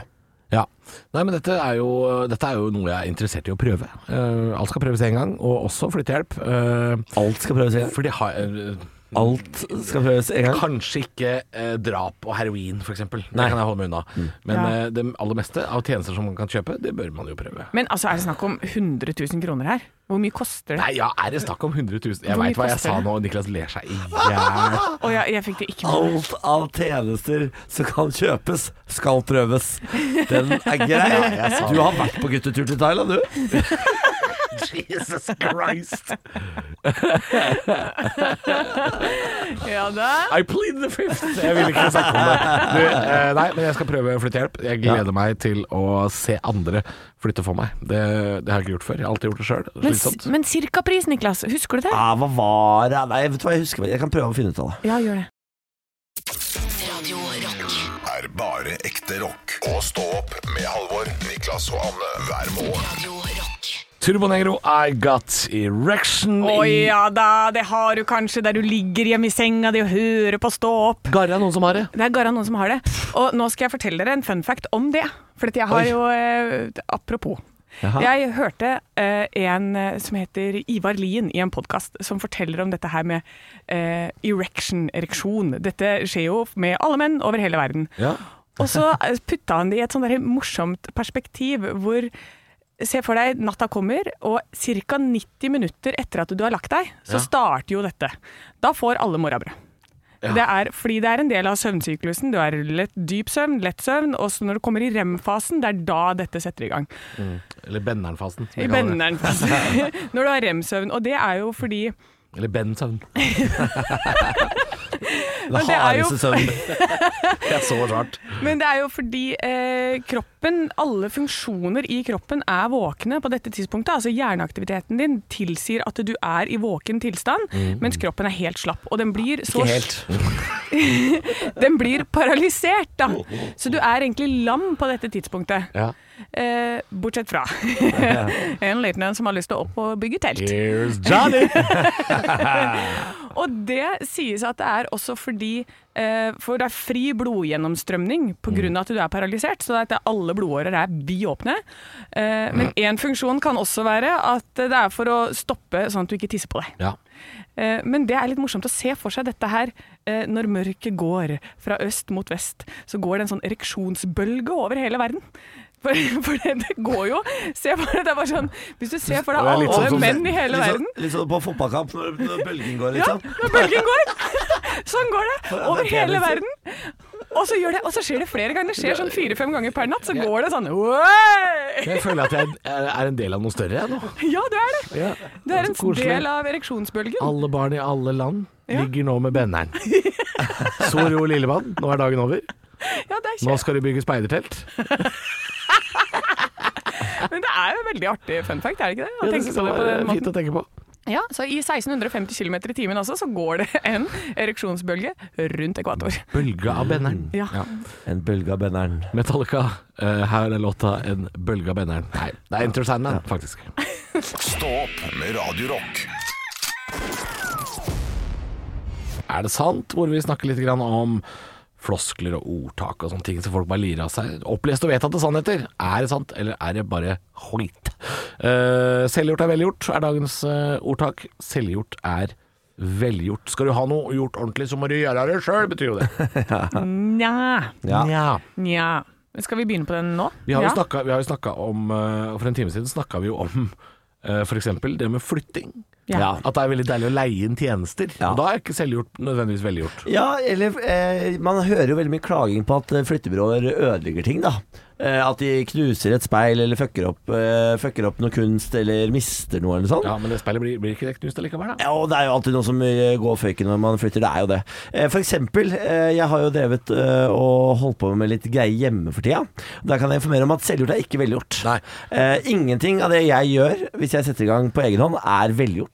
Speaker 3: Ja. Nei, men dette er, jo, dette er jo noe jeg er interessert i å prøve. Eh, alt skal prøves én gang, og også flyttehjelp. Eh,
Speaker 6: Alt skal prøves en gang.
Speaker 3: for de har eh,
Speaker 6: Alt skal prøves en gang.
Speaker 3: kanskje ikke eh, drap og heroin, f.eks. Det
Speaker 6: Nei.
Speaker 3: kan jeg holde meg unna. Men
Speaker 4: Ja.
Speaker 3: eh, det aller meste av tjenester som man kan kjøpe, det bør man jo prøve.
Speaker 4: Men altså, er det snakk om 100 000 kroner her? Hvor mye koster det?
Speaker 3: Nei, ja, er det snakk om 100 000? Jeg
Speaker 4: Hvor mye
Speaker 3: veit hva jeg
Speaker 4: koster
Speaker 3: sa
Speaker 4: det?
Speaker 3: nå, og Niklas ler seg [laughs] i hjel.
Speaker 4: Å ja, jeg fikk det ikke med meg.
Speaker 6: Alt av tjenester som kan kjøpes, skal prøves. Den er grei. Du har vært på guttetur til Thailand, du.
Speaker 3: [laughs] Jesus Christ!
Speaker 4: Ja da.
Speaker 3: I plead the fifth! Jeg vil ikke snakke om det. Du, eh, nei, men jeg skal prøve flyttehjelp. Jeg gleder meg til å se andre flytte for meg. Det, det har jeg ikke gjort før. Jeg har alltid gjort det sjøl.
Speaker 4: Men, s-
Speaker 3: Slitsomt.
Speaker 4: men cirkapris, Niklas. Husker du det?
Speaker 6: Ja, Ah, hva var det? Nei, vet du hva, jeg husker Jeg kan prøve å finne ut av det.
Speaker 4: Ja, gjør det.
Speaker 1: Radio Rock.
Speaker 2: er bare ekte rock. Og stå opp med Halvor, Niklas og Anne hver morgen.
Speaker 1: Radio Rock.
Speaker 3: Turbonegro, I got erection
Speaker 4: Å ja da, det har du kanskje der du ligger hjemme i senga di og hører på Stå opp.
Speaker 3: i Garra, noen som har det?
Speaker 4: Det er garant noen som har det. Og nå skal jeg fortelle dere en fun fact om det. For at jeg har jo eh, Apropos. Jeg hørte eh, en eh, som heter Ivar Lien i en podkast som forteller om dette her med eh, erection, ereksjon. Dette skjer jo med alle menn over hele verden.
Speaker 3: Ja.
Speaker 4: [laughs] Og så eh, putta han det i et sånn derre morsomt perspektiv hvor Se for deg natta kommer, og ca. 90 minutter etter at du har lagt deg, så starter jo dette. Da får alle morrabrød. Det er, fordi det er en del av søvnsyklusen. Du har lett, dyp søvn, lett søvn, og så når du kommer i REM-fasen, det er da dette setter i gang.
Speaker 3: Eller Benneren-fasen. som
Speaker 4: I
Speaker 3: jeg kaller det.
Speaker 4: benderen-fasen. [laughs] når du har REM-søvn. Og det er jo fordi
Speaker 3: Eller Ben-søvn.
Speaker 6: Den
Speaker 4: det er jo-
Speaker 6: hardeste
Speaker 4: [laughs]
Speaker 6: søvnen.
Speaker 3: Jeg sover svart.
Speaker 4: Men det er jo fordi eh, kroppen, alle funksjoner i kroppen er våkne på dette tidspunktet. Altså hjerneaktiviteten din tilsier at du er i våken tilstand, mens kroppen er helt slapp. Og den blir så
Speaker 6: Ikke helt.
Speaker 4: Den blir paralysert, da. Så du er egentlig lam på dette tidspunktet.
Speaker 3: Ja.
Speaker 4: Eh, bortsett fra en liten en som har lyst til å opp og bygge telt.
Speaker 3: Here's Johnny!
Speaker 4: Og det sies at det er også fordi eh, For det er fri blodgjennomstrømning
Speaker 3: Mm.
Speaker 4: pga. at du er paralysert, så det er at alle blodårer er biåpne. Eh, men
Speaker 3: Mm.
Speaker 4: én funksjon kan også være at det er for å stoppe sånn at du ikke tisser på deg.
Speaker 3: Ja.
Speaker 4: Eh, Men det er litt morsomt å se for seg dette her. eh, Når mørket går fra øst mot vest, så går det en sånn ereksjonsbølge over hele verden. For, [laughs] for det, det går jo Se for deg, det er bare sånn Hvis du ser for deg
Speaker 3: Og det er litt
Speaker 4: alle
Speaker 3: sånn som-
Speaker 4: menn i hele
Speaker 6: litt
Speaker 4: verden
Speaker 6: sånn, litt sånn på fotballkamp når, når bølgen går,
Speaker 4: Ja,
Speaker 6: liksom.
Speaker 4: når bølgen
Speaker 3: [laughs]
Speaker 4: går! Sånn går det. Over
Speaker 6: det er
Speaker 4: hele
Speaker 6: litt-
Speaker 4: verden. Og så, gjør det, og så skjer det flere ganger. Det skjer sånn fire-fem ganger per natt. Så går det sånn «Oi!»
Speaker 3: Jeg føler at jeg er er en del av noe større jeg, nå.
Speaker 4: Ja, du er det.
Speaker 3: Ja.
Speaker 4: Du er en
Speaker 3: Så koselig.
Speaker 4: del av ereksjonsbølgen.
Speaker 3: Alle barn i alle land ligger nå med
Speaker 4: [laughs]
Speaker 3: benneren. Så ro, lille mann. Nå er dagen over.
Speaker 4: Ja, det er
Speaker 3: Nå
Speaker 4: kjent.
Speaker 3: skal du bygge speidertelt.
Speaker 4: Men det er jo en veldig artig fun fact, er det ikke det? Å
Speaker 3: Ja, det
Speaker 4: tenke
Speaker 3: synes
Speaker 4: på
Speaker 3: jeg
Speaker 4: det på
Speaker 3: var eh,
Speaker 4: den måten.
Speaker 3: fint å tenke på.
Speaker 4: Ja, så i 1650 km i timen også, så går det en ereksjonsbølge rundt ekvator.
Speaker 3: Bølge av benneren.
Speaker 4: Ja.
Speaker 6: En bølge av benneren.
Speaker 3: Metallica, eh, her er låta 'En bølge av benneren'. Nei, det er Entertainment, faktisk.
Speaker 2: Stå opp med Radio Rock.
Speaker 3: Er det sant? Hvor vi snakker litt grann om floskler og ordtak og sånne ting som folk bare lirer av seg. Opplest og vedtatte sannheter. Er det sant, eller er det bare hoit? Eh, selvgjort er velgjort, er dagens eh, ordtak. Selvgjort er velgjort. Skal du ha noe gjort ordentlig, så må du gjøre det sjøl, betyr jo det.
Speaker 4: Nja,
Speaker 6: Ja.
Speaker 3: Nja.
Speaker 4: nja. Skal vi begynne på den nå?
Speaker 3: Vi har jo
Speaker 4: ja.
Speaker 3: snakka, vi har jo snakka om eh, For en time siden snakka vi jo om eh, for f.eks. det med flytting.
Speaker 4: Ja. Ja.
Speaker 3: At det er veldig deilig å leie inn tjenester.
Speaker 6: Ja.
Speaker 3: Og da er ikke selvgjort nødvendigvis velgjort.
Speaker 6: Ja, eller eh, man hører jo veldig mye klaging på at eh, flyttebyråer ødelegger ting, da. Eh, at de knuser et speil eller fucker opp, eh, fucker opp noe kunst eller mister noe eller sånn. noe sånt.
Speaker 3: Ja, men det speilet blir, blir ikke knust allikevel, da.
Speaker 6: Ja, og det er jo alltid noe som eh, går føyken når man flytter, det er jo det. Eh, For eksempel, eh, jeg har jo drevet eh, og holdt på med litt greier hjemme for tida. Der kan jeg informere om at selvgjort er ikke velgjort. Eh, Ingenting av det jeg gjør hvis jeg setter i gang på egen hånd, er velgjort.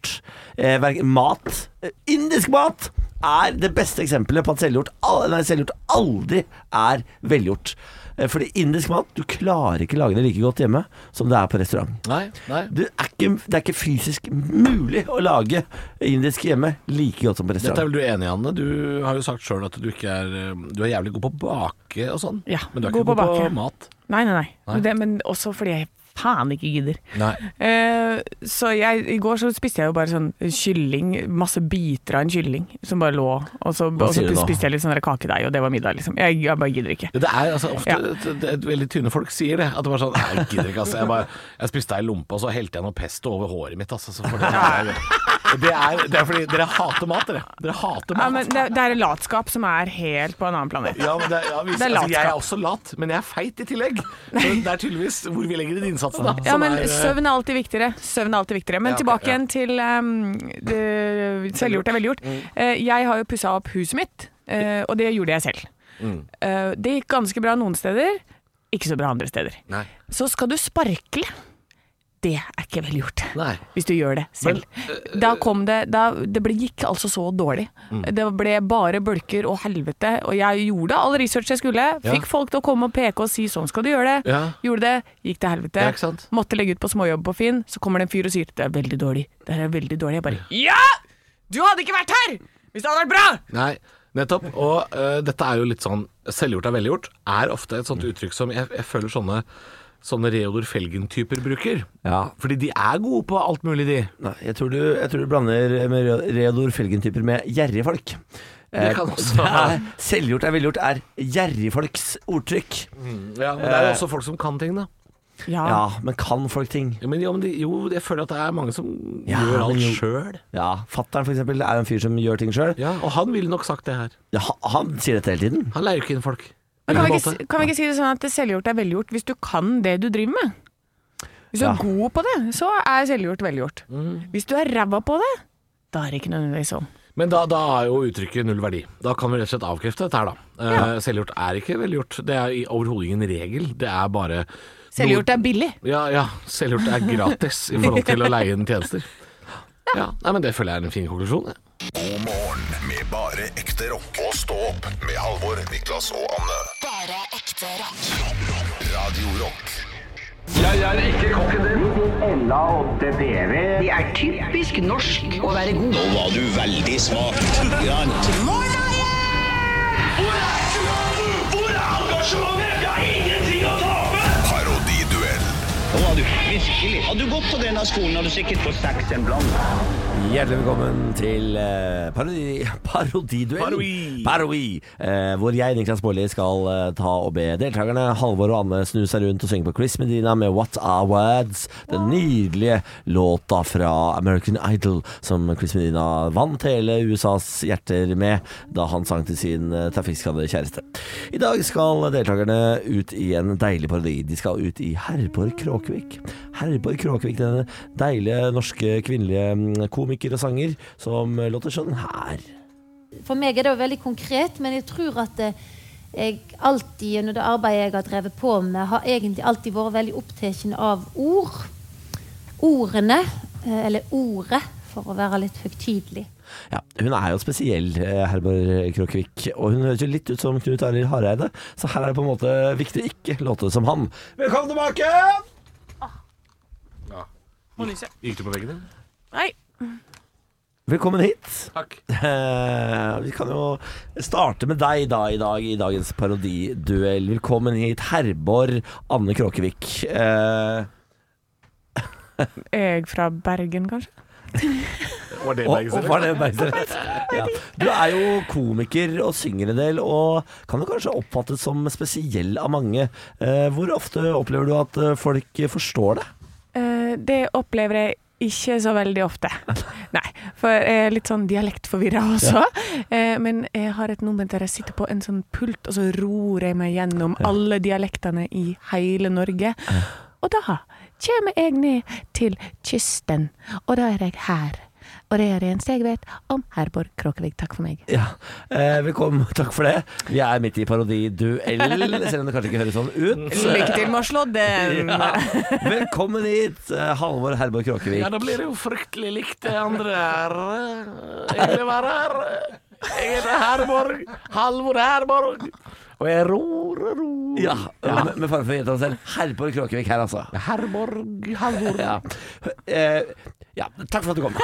Speaker 6: Eh, hverken Mat, eh, indisk mat, er det beste eksempelet på at selvgjort, al- nei, selvgjort aldri er velgjort. Eh, Fordi indisk mat, du klarer ikke lage det like godt hjemme som det er på restaurant.
Speaker 3: Nei, nei.
Speaker 6: Det er, ikke, det er ikke fysisk mulig å lage indisk hjemme like godt som på
Speaker 3: Dette er
Speaker 6: restaurant.
Speaker 3: vel du enig i, Anne. Du har jo sagt sjøl at du ikke er eh, Du er jævlig god på å bake og sånn,
Speaker 4: Ja,
Speaker 3: men du er
Speaker 4: god
Speaker 3: ikke god
Speaker 4: på
Speaker 3: på,
Speaker 4: å bake.
Speaker 3: mat.
Speaker 4: Nei, nei, nei. Det, men også fordi jeg faen ikke gidder.
Speaker 3: Nei.
Speaker 4: Eh, så jeg, i går så spiste jeg jo bare sånn kylling, masse biter av en kylling som bare lå, og så, og så
Speaker 6: sier du nå?
Speaker 4: spiste jeg litt sånn der kakedeig, og det var middag, liksom. Jeg, jeg bare gidder ikke.
Speaker 3: Det er altså ofte
Speaker 4: Ja.
Speaker 3: det, det, Veldig tynne folk sier det. At det bare sånn Nei, jeg gidder ikke, altså. Jeg, bare, jeg spiste ei lompe, og så helte jeg noe pesto over håret mitt, altså. Så for det, er, det, er, det er fordi dere hater mat, dere. Dere hater mat.
Speaker 4: Ja, men det, det er en latskap som er helt på en annen planet.
Speaker 3: Ja, men det, er- ja, hvis,
Speaker 4: Det er
Speaker 3: altså, jeg er
Speaker 4: latskap.
Speaker 3: også lat, men jeg er feit i tillegg. Så det er tydeligvis hvor vi legger din innsatsen, da.
Speaker 4: Ja,
Speaker 3: som
Speaker 4: men
Speaker 3: er, eh,
Speaker 4: søvn er alltid viktigere. Søvn er alltid viktigere. Men
Speaker 3: Ja, ok,
Speaker 4: tilbake
Speaker 3: ja.
Speaker 4: igjen til ehm, det, selvgjort er velgjort.
Speaker 3: Mm.
Speaker 4: Eh, jeg har jo pussa opp huset mitt, eh, og det gjorde jeg selv.
Speaker 3: Mm.
Speaker 4: Eh, det gikk ganske bra noen steder, ikke så bra andre steder.
Speaker 3: Nei.
Speaker 4: Så skal du sparkle. Det er ikke velgjort.
Speaker 3: Nei.
Speaker 4: Hvis du gjør det selv.
Speaker 3: eh,
Speaker 4: da kom det da, Det ble, gikk altså så dårlig.
Speaker 3: Mm.
Speaker 4: Det ble bare bølker og helvete. Og jeg gjorde all research jeg skulle. Fikk folk til å komme og peke og si 'sånn skal du gjøre det'.
Speaker 3: Ja.
Speaker 4: Gjorde det, gikk til helvete.
Speaker 3: Ja, ikke sant?
Speaker 4: Måtte legge ut på småjobb på Finn. Så kommer det en fyr og sier 'det er veldig dårlig'. Det her er veldig dårlig. Jeg bare 'ja! Du hadde ikke vært her hvis det hadde vært bra!'
Speaker 3: Nei, nettopp. Og eh, dette er jo litt sånn Selvgjort er velgjort er ofte et sånt uttrykk som jeg, jeg føler sånne Sånne Reodor Felgen-typer bruker.
Speaker 6: Ja.
Speaker 3: Fordi de er gode på alt mulig, de.
Speaker 6: Nei, jeg, tror du, jeg tror du blander med Re- Reodor Felgen-typer med Eh, gjerrige folk.
Speaker 3: Det kan også
Speaker 6: Nei, Selvgjort er velgjort er gjerrigfolks ordtrykk.
Speaker 3: Ja, Men det er jo også folk som kan ting, da.
Speaker 4: Ja.
Speaker 6: Ja, men kan folk ting?
Speaker 3: Ja, men, ja, men de, jo, jeg føler at det er mange som
Speaker 6: Ja,
Speaker 3: gjør
Speaker 6: men
Speaker 3: alt
Speaker 6: jo-
Speaker 3: sjøl.
Speaker 6: Ja, Fattern f.eks. er jo en fyr som gjør ting sjøl.
Speaker 3: Ja, og han ville nok sagt det her.
Speaker 6: Ja, han- han sier dette hele tiden.
Speaker 3: Han leier jo ikke inn folk.
Speaker 4: Men kan vi,
Speaker 3: På en
Speaker 4: ikke,
Speaker 3: måte.
Speaker 4: kan vi ikke si det sånn at selvgjort er velgjort hvis du kan det du driver med? Hvis du
Speaker 6: Ja.
Speaker 4: er god på det, så er selvgjort velgjort. Hvis du er ræva på det, da er det ikke nødvendigvis sånn.
Speaker 3: Men da, da er jo uttrykket null verdi. Da kan vi rett og slett avkrefte dette her, da. Eh, Selvgjort er ikke velgjort. Det er i- overhodet ingen regel. Det er bare
Speaker 4: Selvgjort er billig.
Speaker 3: Ja, ja. Selvgjort er gratis i forhold til å leie inn tjenester. Ja, nei, men Det føler jeg er en fin konklusjon. jeg.
Speaker 2: God morgen med bare ekte rock. Og stå opp med Halvor, Niklas og Anne.
Speaker 1: Bare ekte rock.
Speaker 2: Radio Rock. Parodiduell.
Speaker 6: Hjertelig velkommen til eh, parodi, parodiduell.
Speaker 3: Parodi.
Speaker 6: Parodi, eh, hvor jeg, Niklas Baarli, skal eh, ta og be deltakerne Halvor og Anne snu seg rundt og synge på Chris Medina med What Are Words. Den nydelige låta fra American Idol som Chris Medina vant hele USAs hjerter med da han sang til sin eh, trafikkskadde kjæreste. I dag skal deltakerne ut i en deilig parodi. De skal ut i Herborg Kråkevik. Herborg Kråkevik, denne deilige norske kvinnelige mm, komiker og sanger som låter sånn her.
Speaker 10: For meg er det jo veldig konkret, men jeg tror at eh, jeg alltid gjennom det arbeidet jeg har drevet på med, har egentlig alltid vært veldig opptatt av ord. Ordene, eh, eller ordet, for å være litt høytidelig.
Speaker 6: Ja, hun er jo spesiell, eh, Herborg Kråkevik, og hun høres jo litt ut som Knut Arild Hareide, så her er det på en måte viktig å ikke låte som han. Velkommen tilbake!
Speaker 3: Ah. Gikk du på veggen din?
Speaker 4: Nei.
Speaker 6: Velkommen hit.
Speaker 3: Takk.
Speaker 6: Eh, vi kan jo starte med deg da i dag i dagens parodiduell. Velkommen hit, Herborg Anne Kråkevik. Eh,
Speaker 4: Jeg fra Bergen, kanskje?
Speaker 3: Var det
Speaker 6: og,
Speaker 3: Bergens
Speaker 6: og var det bergsrett? Ja. Du er jo komiker og synger en del, og kan jo kanskje oppfattes som spesiell av mange. Eh, hvor ofte opplever du at eh, folk forstår det?
Speaker 4: Eh, det opplever jeg ikke så veldig ofte. [laughs] Nei, for jeg er litt sånn dialektforvirra også. Eh, men jeg har et moment der jeg sitter på en sånn pult, og så ror jeg meg gjennom alle dialektene i hele Norge. Og da kommer jeg ned til kysten, og da er jeg her. Og det er det eneste jeg vet om Herborg Kråkevik. Takk for meg.
Speaker 6: Ja. Eh, velkommen, [laughs] takk for det. Vi er midt i parodiduell, selv om det kanskje ikke høres sånn ut.
Speaker 4: Lykke til med å slå den.
Speaker 6: [laughs] Ja. Velkommen hit, eh, Halvor Herborg Kråkevik.
Speaker 3: Ja, da blir det jo fryktelig likt det andre her. Jeg vil være her. Jeg heter Herborg. Halvor Herborg. Og jeg ror og ror.
Speaker 6: Ja, Med, med fare for å gjenta meg selv. Herborg Kråkevik her, altså.
Speaker 3: Herborg, Halvor
Speaker 6: Ja. Eh, ja, takk for at du kom.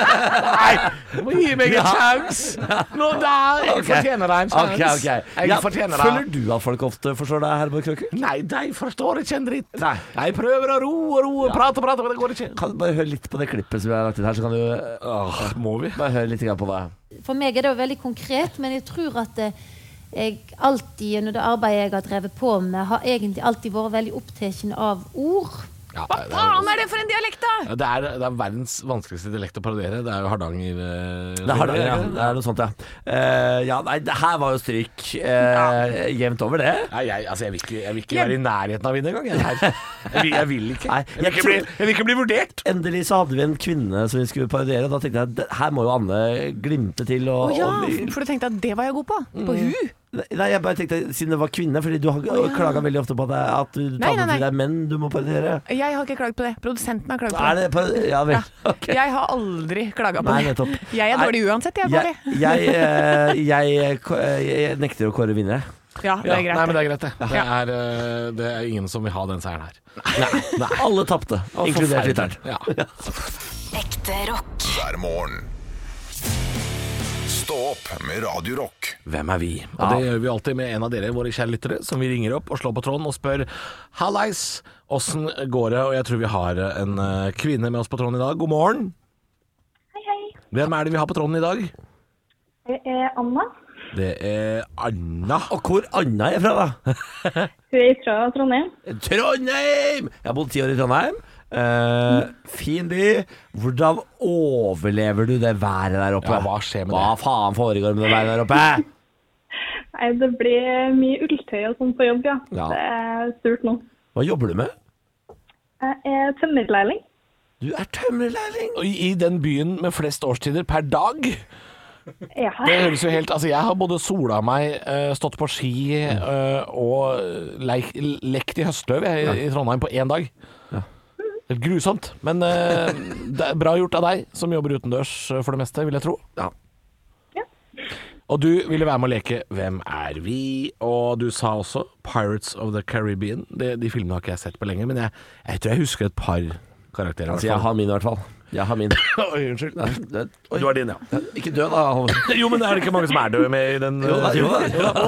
Speaker 3: Nei, du må gi meg en
Speaker 6: Ja.
Speaker 3: sjanse! Nå da, jeg
Speaker 6: Ok.
Speaker 3: fortjener deg en sjanse.
Speaker 6: Ok, ok.
Speaker 3: Jeg
Speaker 6: Ja,
Speaker 3: fortjener
Speaker 6: Føler
Speaker 3: deg.
Speaker 6: du at folk ofte forstår deg, Herborg Kråkevik?
Speaker 3: Nei, de forstår ikke en dritt.
Speaker 6: Nei.
Speaker 3: Jeg prøver å ro og ro og prate og prate, men det går ikke.
Speaker 6: Kan du bare høre litt på det klippet som jeg har lagt inn her, så kan du
Speaker 3: Åh, må vi?
Speaker 6: bare høre litt grann på det.
Speaker 10: For meg er det jo veldig konkret, men jeg tror at eh, jeg alltid gjennom det arbeidet jeg har drevet på med, har egentlig alltid vært veldig opptatt av ord.
Speaker 4: Hva faen er det for en dialekt, da?!
Speaker 3: Det er, det er verdens vanskeligste dialekt å parodiere. Det er jo Hardanger. eh,
Speaker 6: Det er,
Speaker 3: ikke
Speaker 6: ja, det er noe sånt, ja. Eh, ja, nei, det her var jo stryk eh, jevnt over, det.
Speaker 3: Nei, jeg, altså, jeg vil ikke, jeg vil ikke være i nærheten av å vinne engang. Jeg, her. jeg, vil- jeg vil ikke.
Speaker 6: Nei,
Speaker 3: jeg, vil
Speaker 6: jeg
Speaker 3: ikke bli,
Speaker 6: tror-
Speaker 3: jeg vil ikke bli vurdert.
Speaker 6: Endelig så hadde vi en kvinne som vi skulle parodiere. og Da tenkte jeg "Det- her må jo Anne glimte til.
Speaker 4: Å Mm.
Speaker 6: Og,
Speaker 4: ja,
Speaker 6: og,
Speaker 4: for du tenkte at det var jeg god på? På hu?
Speaker 6: nei, jeg bare tenkte Siden det var kvinne, Fordi du har klaga veldig ofte på at, det- at du
Speaker 4: Nei, nei,
Speaker 6: tar på til
Speaker 4: nei.
Speaker 6: deg menn du må parodiere.
Speaker 4: Jeg har ikke klagd på det. Produsenten har klagd på
Speaker 6: Er
Speaker 4: det.
Speaker 6: det på, Ja vel.
Speaker 4: Ja.
Speaker 6: [laughs] Ok.
Speaker 4: Jeg har aldri klaga på
Speaker 6: Nei,
Speaker 4: det.
Speaker 6: nettopp.
Speaker 4: [laughs] Jeg er
Speaker 6: Nei,
Speaker 4: dårlig uansett, jeg,
Speaker 6: Jeg,
Speaker 4: Bård. [laughs]
Speaker 6: jeg, eh, jeg, eh, jeg nekter å kåre vinnere.
Speaker 4: Ja, det er
Speaker 3: Nei, men
Speaker 4: greit.
Speaker 3: det er greit, det. Det er, eh, det er ingen som vil ha den seieren her.
Speaker 6: Alle tapte, inkludert lytteren.
Speaker 3: Ja.
Speaker 1: Ekte rock.
Speaker 2: hver morgen. Stå opp med Radio Rock.
Speaker 3: Hvem er vi? Og det gjør vi alltid med en av dere, våre kjære lyttere, som vi ringer opp og slår på tråden og spør Hallais, åssen går det? Og jeg tror vi har en eh, kvinne med oss på tråden i dag. God morgen.
Speaker 11: Hei, hei.
Speaker 3: Hvem er det vi har på tråden i dag?
Speaker 11: Det er Anna.
Speaker 3: Det er Anna.
Speaker 6: Og hvor Anna er fra, da?
Speaker 11: Hun er fra Trondheim.
Speaker 6: Trondheim! Jeg har bodd ti år i Trondheim. Eh,
Speaker 4: Mm.
Speaker 6: fin by. Hvordan overlever du det været der oppe?
Speaker 3: Ja, hva skjer med
Speaker 6: Hva faen foregår med det været
Speaker 4: [laughs]
Speaker 6: der oppe?
Speaker 11: Nei, det blir mye ulltøy og sånn på jobb, ja.
Speaker 6: Ja.
Speaker 11: Det er stort nå.
Speaker 6: Hva jobber du med?
Speaker 11: Jeg er tømmerlærling.
Speaker 6: Du er tømrerlærling.
Speaker 3: Og I i den byen med flest årstider per dag.
Speaker 11: Ja.
Speaker 3: Det høres jo helt Altså, jeg har både sola meg, eh, stått på ski eh, og leik, lekt i høstløv jeg, i- i Trondheim på én dag. Helt grusomt. Men eh, det er bra gjort av deg, som jobber utendørs eh, for det meste, vil jeg tro.
Speaker 11: Ja.
Speaker 3: Og du ville være med å leke Hvem er vi? Og du sa også Pirates of the Caribbean. De, de filmene har ikke jeg sett på lenge, men jeg, jeg tror jeg husker et par karakterer. i hvert
Speaker 6: Så jeg
Speaker 3: fall.
Speaker 6: har min, i hvert fall. Jeg har min.
Speaker 3: [laughs] Oi, unnskyld.
Speaker 6: Du har din, ja. Ikke dø, da. Halvor.
Speaker 3: Jo, men er det ikke mange som er døde med i den eh,
Speaker 6: Jo da, jo da.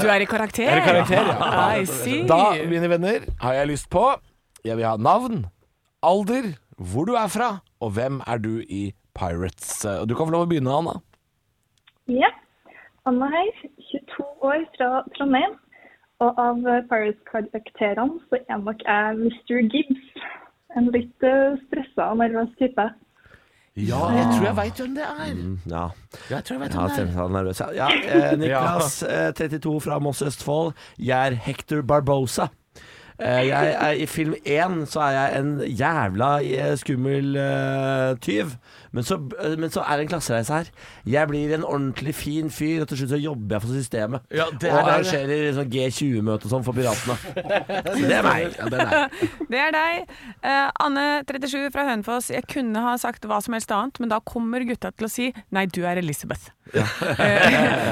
Speaker 4: Du er i karakter?
Speaker 3: Er det karakter, ja.
Speaker 4: [laughs] I see.
Speaker 3: Da, mine venner, har jeg lyst på Jeg vil ha navn, alder, hvor du er fra, og hvem er du i Pirates. Og Du kan få lov å begynne, Anna.
Speaker 11: ja. Anna her, 22 år fra Trondheim. Og av eh, Pirates-karakterene så er nok jeg Mr. Gibbs. En litt eh, stressa og nervøs type.
Speaker 3: Ja, jeg tror jeg veit hvem det er.
Speaker 6: Ja,
Speaker 3: Jeg tror jeg vet
Speaker 6: Mm.
Speaker 3: hvem det
Speaker 6: ja
Speaker 3: [laughs] er.
Speaker 6: stemmer, jeg er nervøs. Ja, Ja, eh, Niklas, eh, 32 fra Moss Østfold. Jeg er Hector Barbosa. Eh, jeg er, I film én så er jeg en jævla eh, skummel eh, tyv. Men så, eh, men så er det en klassereise her. Jeg blir en ordentlig fin fyr, og til slutt så jobber jeg for systemet.
Speaker 3: Ja, det er det.
Speaker 6: og arrangerer liksom G20-møte og sånn for piratene. Så [laughs] det er meg. [laughs]
Speaker 4: Det er deg. Eh, Anne, 37, fra Hønefoss. Jeg kunne ha sagt hva som helst annet, men da kommer gutta til å si nei, du er Elisabeth. [laughs] Eh,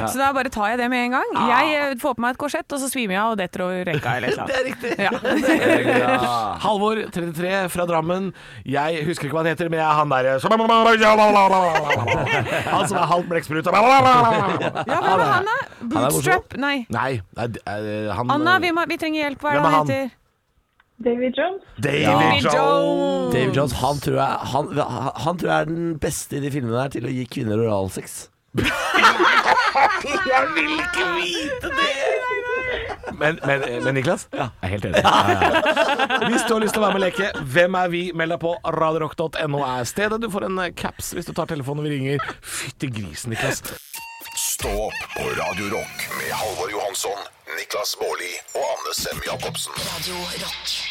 Speaker 4: så da bare tar jeg det med en gang. Jeg eh, får på meg et korsett, og så svimer jeg av og detter over rekka eller
Speaker 6: [laughs]
Speaker 4: noe. Det er riktig. Ja.
Speaker 3: Halvor, 33, fra Drammen. Jeg husker ikke hva han heter, men jeg er han derre Han som er halvt blekksprut.
Speaker 4: ja, hvem er han da?
Speaker 6: morsom.
Speaker 4: Bootstrap? Nei.
Speaker 3: Nei, nei, det er- eh, han
Speaker 4: Anna, vi, må, vi trenger hjelp. Hva er
Speaker 3: Hvem er
Speaker 4: det
Speaker 3: han?
Speaker 4: han heter?
Speaker 11: David Jones.
Speaker 3: David
Speaker 4: David
Speaker 3: Jones.
Speaker 4: Jones.
Speaker 6: David Jones, han tror, jeg, han, han- han tror jeg er den beste i de filmene her til å gi kvinner oralsex.
Speaker 3: Men, men, eh, men Niklas, jeg er helt enig. Hvis du har lyst til å være med og leke, hvem er vi? Meld deg på radiorock.no er stedet. Du får en eh, caps hvis du tar telefonen og vi ringer. Fytti grisen, Niklas.
Speaker 2: Stå opp på Radio Rock med Halvor Johansson, Niklas Baarli og Anne Sem Jacobsen.
Speaker 1: Radio Rock.